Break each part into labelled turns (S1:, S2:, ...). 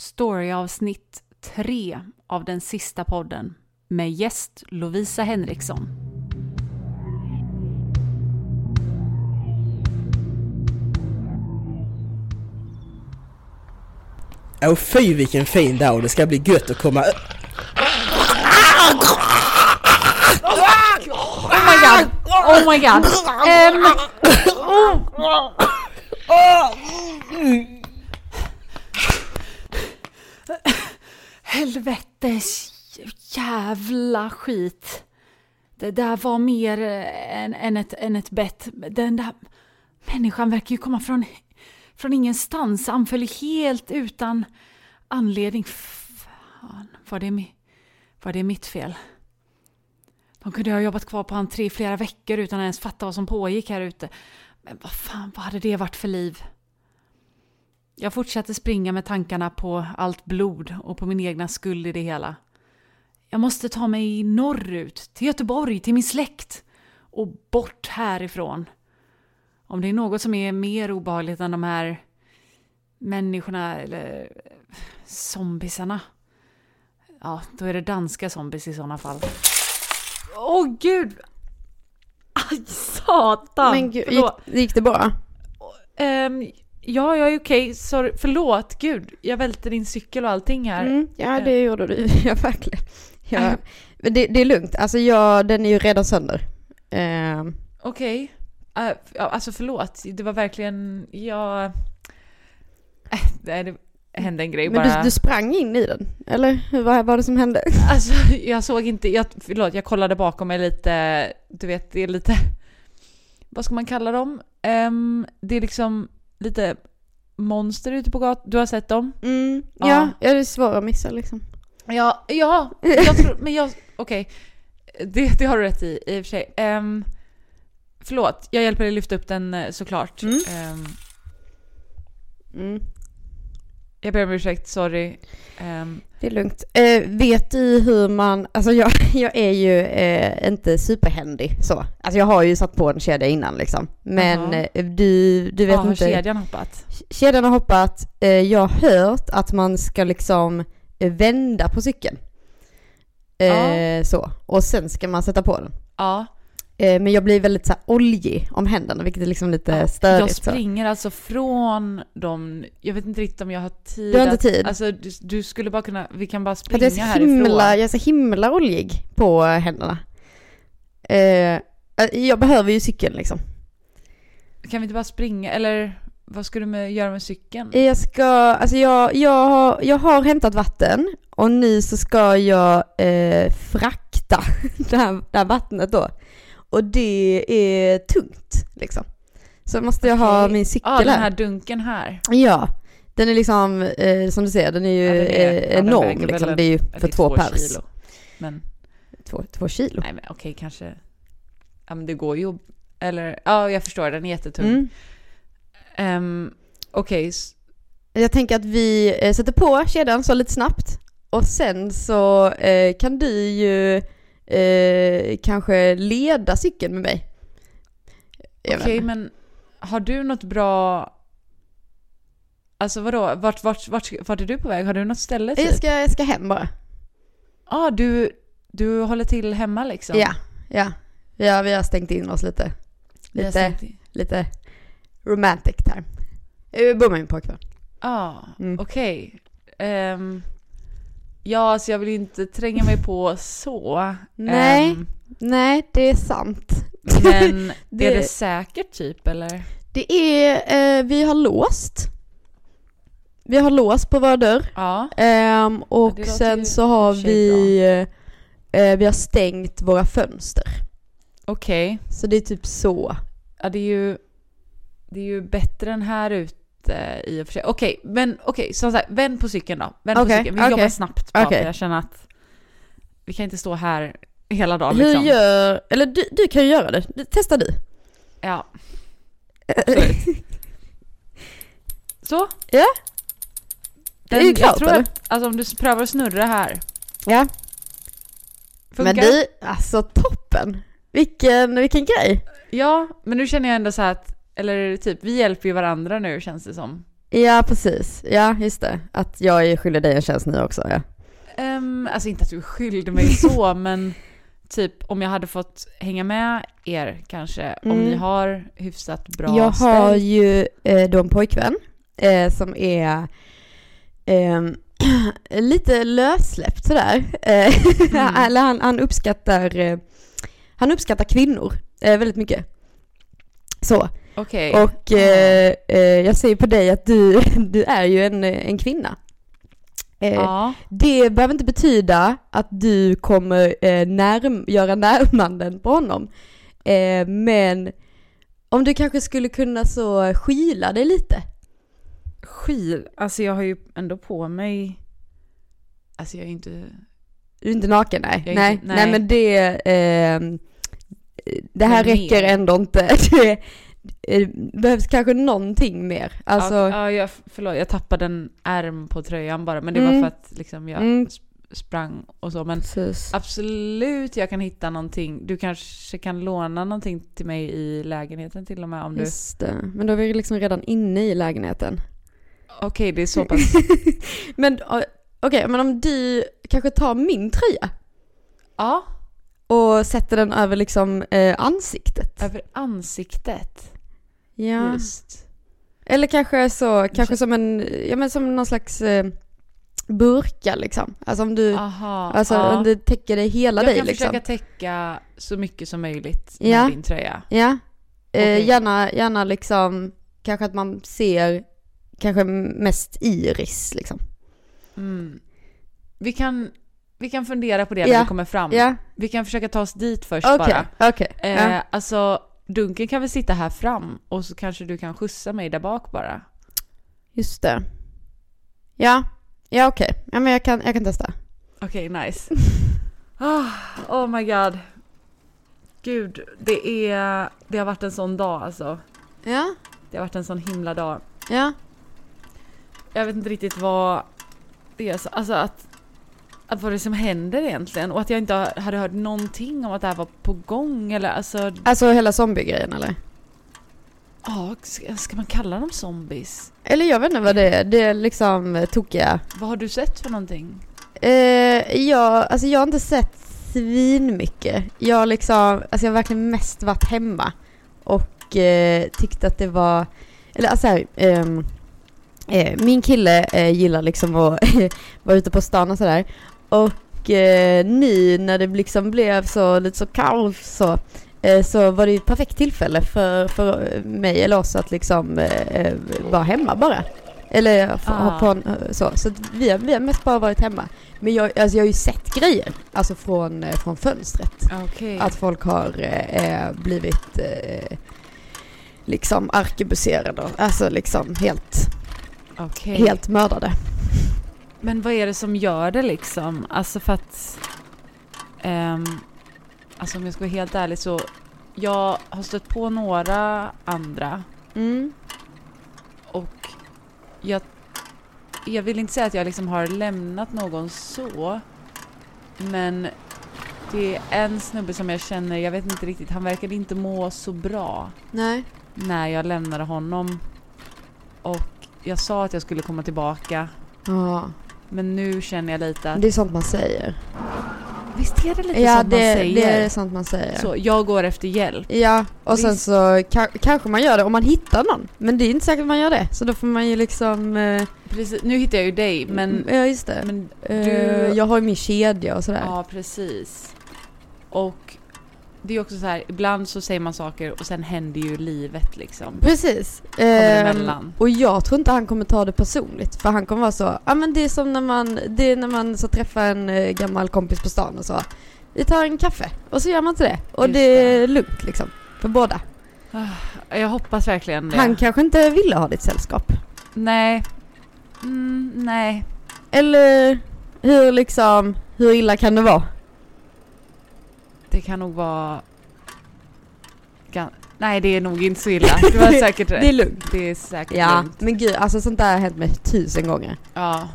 S1: Storyavsnitt 3 av den sista podden med gäst Lovisa Henriksson. Oh
S2: Åh fy vilken fin dag, det ska bli gött att komma upp.
S1: Oh my god! Oh my god! Ehm, Helvetes jävla skit. Det där var mer eh, än, än, ett, än ett bett. Den där människan verkar ju komma från, från ingenstans. Han föll helt utan anledning. Fan, var det, mi- var det mitt fel? De kunde ha jobbat kvar på entré i flera veckor utan att ens fatta vad som pågick här ute. Men vad fan, vad hade det varit för liv? Jag fortsatte springa med tankarna på allt blod och på min egna skuld i det hela. Jag måste ta mig norrut, till Göteborg, till min släkt och bort härifrån. Om det är något som är mer obehagligt än de här människorna eller zombisarna. Ja, då är det danska zombies i sådana fall. Åh oh, gud! Aj, satan!
S3: Men gud, gick,
S1: Förlåt.
S3: gick det bra?
S1: Ehm, ja, jag är okej. Sorry. Förlåt, gud. Jag välte din cykel och allting här.
S3: Mm, ja, det gjorde du. Ja, verkligen. Ja. Men det, det är lugnt. Alltså, jag, den är ju redan sönder. Eh,
S1: Okej. Eh, ja, alltså förlåt, det var verkligen... Jag... Eh, nej, det hände en grej
S3: men
S1: bara.
S3: du, du sprang in i den, eller? Hur- Vad var det som hände?
S1: Alltså, jag såg inte... Jag, förlåt, jag kollade bakom mig lite. Du vet, det är lite... Vad ska man kalla dem? Ehm, det är liksom lite monster ute på gatan. Du har sett dem?
S3: Mm, ja,
S1: Ja.
S3: ja. det är svårt att missa liksom.
S1: Ja, ja, jag tror, men jag, okej. Det, det har du rätt i, i och för sig. Um, förlåt, jag hjälper dig lyfta upp den eh, såklart.
S3: Mm.
S1: Ehm,
S3: Mm,
S1: jag ber om ursäkt, sorry. Ehm,
S3: det är lugnt. Eh, vet du hur man, alltså jag, jag är ju eh, inte superhändig så. Alltså jag har ju satt på en kedja innan liksom. Men
S1: Jaha.
S3: eh, du, du vet
S1: ja, ah, har
S3: inte.
S1: kedjan hoppat?
S3: Kedjan har hoppat. Eh, Jag har hört att man ska liksom eh, vända på cykeln. Eh, Så. Och sen ska man sätta på den.
S1: Ja.
S3: Eh, Men jag blir väldigt så här oljig om händerna, vilket är liksom lite
S1: Jag
S3: störigt. så.
S1: springer alltså från dem, jag vet inte riktigt om jag har tid.
S3: Du har inte
S1: att-
S3: tid?
S1: Alltså du, du skulle bara kunna, vi kan bara
S3: För att
S1: springa
S3: jag, är så
S1: härifrån.
S3: himla, jag är så himla oljig på händerna. Eh, eh, Jag behöver ju cykeln liksom.
S1: Kan vi inte bara springa, eller vad ska du med, göra med cykeln?
S3: Jag ska, alltså jag, jag, har, jag har hämtat vatten och nu så ska jag eh, frakta det här, det här vattnet då. Och det är tungt liksom. Så måste jag ha
S1: Okej.
S3: min
S1: Ja,
S3: cykel
S1: Ah, den
S3: här.
S1: här dunken här.
S3: Ja, den är liksom, eh, som du ser, den är ju
S1: Ja, den är-
S3: eh,
S1: ja, den
S3: enorm
S1: väger väl
S3: liksom.
S1: en-
S3: Det är ju
S1: Ja,
S3: för
S1: det är
S3: två pers.
S1: kilo. Men...
S3: Två, två kilo.
S1: Nej men okej kanske. Ja men det går ju. Eller ja jag förstår den är jättetung.
S3: Mm.
S1: Ehm, okej. s-
S3: Jag tänker att vi eh, sätter på kedjan så lite snabbt. Och sen så eh, kan du ju eh, kanske leda cykeln med mig. Jag
S1: Okej
S3: vet inte.
S1: men har du något bra. Alltså vadå vart, vart, vart, vart är du på väg? Har du något ställe typ?
S3: jag, ska, jag ska hem bara.
S1: ah, du, du håller till hemma liksom?
S3: Ja, ja. ja, vi har stängt in oss lite.
S1: Vi har
S3: Lite.
S1: stängt in-
S3: Lite romantic här. Vi bor med min pojkvän.
S1: Ja,
S3: Mm.
S1: okej. Ehm, ja, alltså jag vill ju inte tränga mig på så.
S3: Nej.
S1: Ehm,
S3: Nej, det är sant.
S1: men är
S3: Det-
S1: det säkert typ eller?
S3: Det är, eh, vi har låst. Vi har låst på vår dörr.
S1: Ja.
S3: Ehm, och
S1: det låter ju
S3: sen så
S1: i
S3: har
S1: och för sig
S3: vi, eh, vi har stängt våra fönster.
S1: Okej.
S3: Så det är typ så.
S1: Ja, det är ju, det är ju bättre än här ute i och för sig. Okej, men okej, som sagt, vänd på cykeln då. Vänd på
S3: Okej,
S1: cykeln. Vi
S3: okej.
S1: jobbar snabbt bara
S3: Okej.
S1: för jag känner att vi kan inte stå här hela dagen
S3: Hur
S1: liksom.
S3: gör, eller du, du kan ju göra det, Du- testa du.
S1: Ja. absolut. Så.
S3: Ja.
S1: Den,
S3: Det är ju klart,
S1: jag tror
S3: eller?
S1: att, alltså om du s- prövar att snurra här.
S3: Ja.
S1: Funkar?
S3: Men du, alltså toppen. Vilken, vilken grej.
S1: Ja, men nu känner jag ändå så här att, eller typ, vi hjälper ju varandra nu känns det som.
S3: Ja, precis. Ja, just det. Att jag är skyldig dig en tjänst nu också. Ja.
S1: Ehm, alltså inte att du skyllde mig så, men typ om jag hade fått hänga med er kanske, om
S3: Mm.
S1: ni har hyfsat bra
S3: jag har
S1: ställ.
S3: ju eh, då en pojkvän eh, som är ehm, lite lössläppt sådär. Eh,
S1: Mm.
S3: Eller han, han uppskattar eh, han uppskattar kvinnor eh, väldigt mycket. Så,
S1: Okej.
S3: och eh, eh, jag ser ju på dig att du, du är ju en, eh, en kvinna. Eh,
S1: Ja.
S3: Det behöver inte betyda att du kommer eh, närm- göra närmanden på honom. Eh, men om du kanske skulle kunna så skyla dig lite.
S1: Skil, alltså jag har ju ändå på mig, alltså jag är inte,
S3: Du är inte naken, nej.
S1: Jag är
S3: nej.
S1: inte-
S3: nej.
S1: nej.
S3: men det... ehm, det här
S1: Men mer.
S3: räcker ändå inte. Det eh, behövs kanske någonting mer. Alltså,
S1: ja, ja, jag, förlåt jag tappade en ärm på tröjan bara men det
S3: Mm.
S1: var för att liksom jag
S3: Mm.
S1: sp- sprang och så men
S3: precis.
S1: absolut jag kan hitta någonting, du kanske kan låna någonting till mig i lägenheten till och med om du, okej
S3: Just det. Men då är vi liksom redan inne i lägenheten.
S1: det är så pass,
S3: Men eh, okej, men om du kanske tar min tröja
S1: ja,
S3: och sätter den över liksom eh, ansiktet.
S1: över ansiktet.
S3: Ja.
S1: Just.
S3: Eller kanske så, kanske som en, ja men som någon slags eh, burka liksom. Alltså om du,
S1: Aha,
S3: alltså
S1: ja.
S3: om du täcker dig hela
S1: jag
S3: dig
S1: kan
S3: liksom.
S1: försöka täcka så mycket som möjligt
S3: Ja.
S1: med din tröja.
S3: Ja. Eh,
S1: Okej.
S3: gärna, gärna liksom, kanske att man ser kanske mest iris liksom.
S1: Mm. Vi, kan, vi kan fundera på det
S3: Ja.
S1: när vi kommer fram.
S3: Ja,
S1: Vi kan försöka ta oss dit först
S3: okej,
S1: bara.
S3: okej.
S1: Eh,
S3: Ja.
S1: Alltså, Dunken kan väl sitta här fram och så kanske du kan skjutsa mig där bak bara.
S3: Just det. Ja, ja okej. Ja men jag kan, jag kan testa.
S1: Okej, nice. Ah, oh my god. Gud, det, är, det har varit en sån dag alltså.
S3: Ja,
S1: Det har varit en sån himla dag.
S3: ja.
S1: Jag vet inte riktigt vad det är. så- Alltså att, att vad det är som händer egentligen. Och att jag inte har- hade hört någonting om att det här var på gång. Eller alltså,
S3: Alltså hela zombiegrejen eller?
S1: ja, ska- ska man kalla dem zombies?
S3: Eller jag vet inte vad det är, det är liksom eh, tokiga
S1: Vad har du sett för någonting?
S3: Eh, ja, alltså jag har inte sett svin mycket. Jag har liksom, alltså jag har verkligen mest varit hemma och eh, tyckte att det var, eller alltså här, ehm, eh, min kille eh, gillar liksom att vara ute på stan och sådär. Och eh, nu när det liksom blev så lite så kallt så, eh, så var det ju ett perfekt tillfälle för, för mig eller oss att liksom eh, eh, vara hemma bara. Eller f- ha
S1: Ah.
S3: på en, så. Så att vi, har, vi har mest bara varit hemma. Men jag, alltså jag har ju sett grejer, alltså från, eh, från fönstret.
S1: Okej.
S3: Att folk har eh, eh, blivit eh, liksom arkebuserade, och- alltså liksom helt,
S1: Okej.
S3: helt mördade.
S1: Men vad är det som gör det liksom? Alltså för att... ehm, alltså om jag ska vara helt ärlig så... Jag har stött på några andra
S3: Mm.
S1: och jag... Jag vill inte säga att jag liksom har lämnat någon så. Men det är en snubbe som jag känner, jag vet inte riktigt, han verkade inte må så bra
S3: Nej.
S1: när jag lämnade honom. Och jag sa att jag skulle komma tillbaka.
S3: Ja,
S1: Men nu känner jag lite att
S3: det är sånt man säger.
S1: Visst är det lite
S3: ja,
S1: sånt
S3: det,
S1: man säger?
S3: det är sånt man säger.
S1: Så, jag går efter hjälp.
S3: Ja, och sen
S1: Visst.
S3: så ka- kanske man gör det om man hittar någon. Men det är inte säkert man gör det. Så då får man ju liksom... Eh,
S1: Precis, nu hittar jag ju dig, men...
S3: ja, just det.
S1: men
S3: eh,
S1: du-
S3: jag har ju min kedja och sådär.
S1: ja, precis. Och det är också så här, ibland så säger man saker och sen händer ju livet liksom.
S3: Precis.
S1: Kommer
S3: Ehm,
S1: emellan.
S3: och jag tror inte han kommer ta det personligt. För han kommer vara så, ja ah, men det är som när man, det är när man så träffar en eh, gammal kompis på stan och så. Vi tar en kaffe. Och så gör man inte det. Och
S1: Just
S3: det är lugnt liksom. För båda.
S1: Jag hoppas verkligen det.
S3: Han kanske inte ville ha ditt sällskap.
S1: Nej. Mm, nej.
S3: Eller hur liksom, hur illa kan det vara?
S1: Det kan nog vara... Gan... Nej, det är nog inte så illa. Du har säkert rätt.
S3: Det är lugnt.
S1: Det är säkert
S3: Ja,
S1: lugnt.
S3: men gud, alltså sånt där har hänt mig tusen gånger.
S1: Ja.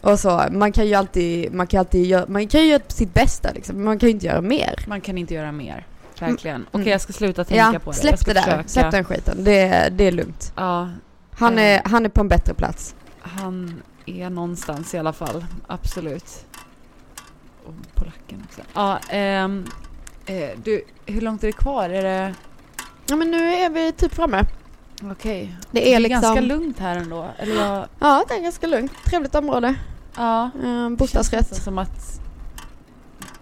S3: Och så, man kan ju alltid, man kan ju alltid göra, man kan ju göra sitt bästa liksom, men man kan ju inte göra mer.
S1: Man kan inte göra mer. Verkligen. Okej,
S3: Mm.
S1: jag ska sluta tänka
S3: Ja,
S1: på det. Jag
S3: släpp
S1: ska
S3: det där,
S1: försöka.
S3: släpp den skiten, det, är- det är lugnt.
S1: Ja,
S3: Han är, han är på en bättre plats.
S1: Han är någonstans i alla fall, absolut. Och polacken också. Ja, ehm, eh, du, hur långt är det kvar? Är det...
S3: Ja men nu är vi typ framme.
S1: Okej.
S3: Det är
S1: ganska
S3: liksom...
S1: lugnt här ändå. Eller jag...
S3: Ja det är ganska lugnt. Trevligt område.
S1: Ja.
S3: Eh,
S1: Det känns
S3: bostadsrätt.
S1: nästan som att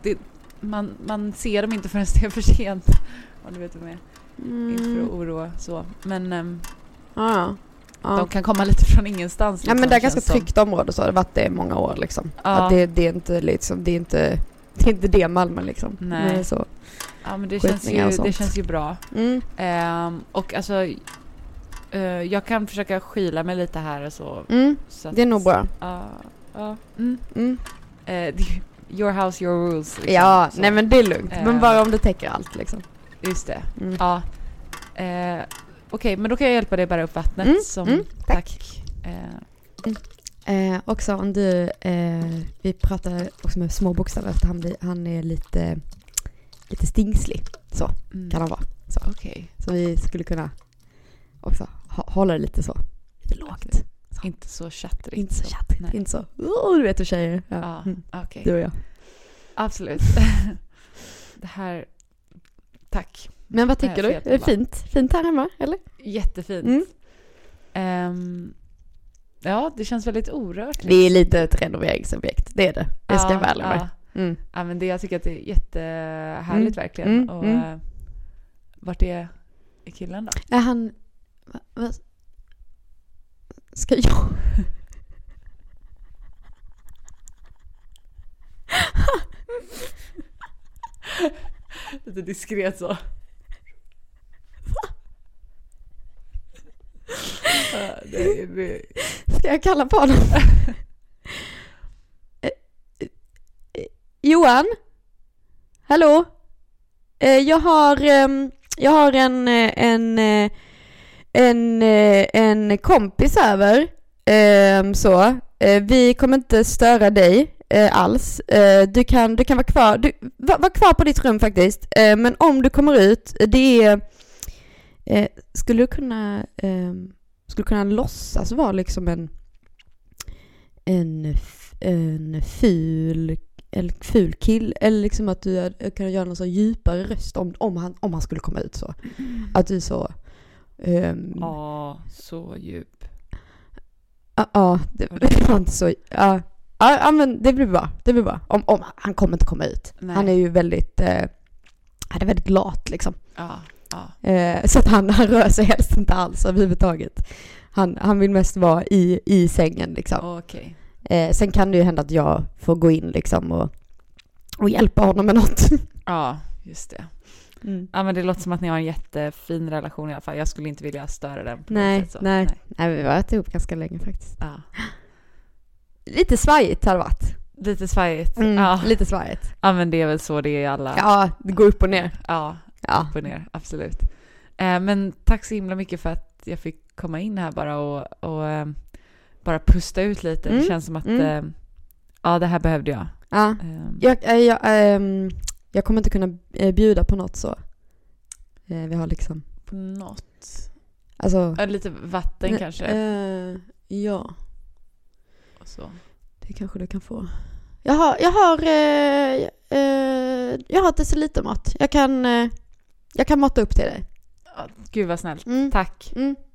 S1: det, man, man ser dem inte förrän det är för sent. Ja, du vet vad jag menar. Inte för att
S3: Mm.
S1: oroa så. Men ehm,
S3: Ja, ja. ja.
S1: de kan komma lite från ingenstans.
S3: Ja men
S1: liksom,
S3: det är ganska
S1: känns som.
S3: tryggt område så, det har varit det i många år liksom.
S1: Ja.
S3: Att det, det är inte liksom, det är inte, det är inte det Malmö liksom.
S1: Nej.
S3: Det är så.
S1: Ja men det känns,
S3: skjutningar
S1: ju,
S3: och
S1: det
S3: sånt.
S1: känns ju bra.
S3: Mm.
S1: Ehm, och alltså eh, jag kan försöka skyla mig lite här och så.
S3: Mm.
S1: så
S3: Det är nog bra.
S1: Ja. ja, mm.
S3: Mm.
S1: Eh, det är ju your house, your rules. liksom,
S3: Ja,
S1: så.
S3: nej men det är lugnt.
S1: Eh.
S3: Men bara om det täcker allt liksom.
S1: Just det.
S3: Mm.
S1: Ja. Eh, Okej, men då kan jag hjälpa dig bära upp vattnet.
S3: Mm,
S1: Som,
S3: mm,
S1: tack.
S3: tack.
S1: Eh,
S3: Eh, också om du, eh, vi pratar också med små bokstäver för han, blir, han är lite, lite stingslig
S1: mm.
S3: kan han vara.
S1: Okej.
S3: Så vi skulle kunna också ha, hålla det lite så, lite lågt.
S1: Inte så tjattrigt.
S3: Inte så
S1: Nej.
S3: tjattigt, inte så, oh, du vet hur tjejer är. ja.
S1: Ja,
S3: Mm.
S1: okej.
S3: Du och jag.
S1: Absolut. det här... Tack.
S3: Men vad
S1: Nej,
S3: tycker du?
S1: fet
S3: Är det
S1: alla.
S3: fint? Fint här hemma, eller?
S1: Jättefint.
S3: Mm.
S1: Ehm, ja, det känns väldigt orört.
S3: Vi är lite ett renoveringsobjekt, det är det. Det ska jag vara ärlig med.
S1: Ja,
S3: Mm.
S1: ja men det, jag tycker att det är jättehärligt
S3: Mm,
S1: verkligen.
S3: mm,
S1: Och,
S3: mm.
S1: eh, vart är, är killen då?
S3: Är han... Va, va, ska jag...
S1: Lite diskret så. Ja, Ah, det är- det-
S3: Ska jag kalla på honom? Eh, eh, Johan? Hallå? Eh, Jag har, ehm, jag har en, eh, en, eh, en, eh, en kompis över. ehm, Så. Eh, Vi kommer inte störa dig eh, alls. Eh, Du kan, du kan vara kvar, du, var, var kvar på ditt rum faktiskt. Eh, Men om du kommer ut, det är... eh, Skulle du kunna... ehm, skulle kunna låtsas vara liksom en en, f- en ful en ful kill eller liksom att du är- kan göra någon så djupare röst om, om, han, om han skulle komma ut så. Att du är så... ehm, Ja,
S1: Ja, så djup.
S3: ja, det, det var inte så... Ja, ja, ja, men det blir bra. Det blir bra. Om, om, han kommer inte komma ut.
S1: Nej.
S3: Han är ju väldigt... Eh, han är väldigt lat liksom.
S1: Ja, ja.
S3: Eh, så att han, han rör sig helst inte alls överhuvudtaget. Han, han vill mest vara i, i sängen liksom.
S1: Okej.
S3: Eh, sen kan det ju hända att jag får gå in liksom och, och hjälpa honom med något.
S1: Ja, just det. Ja, men det låter som att ni har en jättefin relation i alla fall. Jag skulle inte vilja störa den på
S3: Nej,
S1: något sätt. Så.
S3: nej. Nej, vi har varit ihop ganska länge faktiskt.
S1: Ja.
S3: Lite svajigt har det varit.
S1: Lite svajigt.
S3: Mm,
S1: Ja.
S3: Lite svajigt.
S1: ja, men det är väl så det är i alla.
S3: Ja, det går upp och ner.
S1: ja
S3: Ja.
S1: upp och ner, absolut. Eh, men tack så himla mycket för att jag fick komma in här bara och, och eh, bara pusta ut lite. Det
S3: Mm,
S1: känns som att
S3: mm.
S1: eh, ja, det här behövde jag.
S3: ja.
S1: Eh,
S3: Jag, eh, jag, ehm, jag kommer inte kunna eh, bjuda på något så. Eh, vi har liksom,
S1: På något.
S3: alltså.
S1: Ja, lite vatten
S3: Nej,
S1: kanske.
S3: eh, ja,
S1: och så.
S3: det kanske du kan få. Jag har, jag har, eh, eh, jag har decilitermått. Jag kan, eh, jag kan måtta upp till dig.
S1: Ja, Gud vad snällt.
S3: Mm.
S1: Tack.
S3: Mm.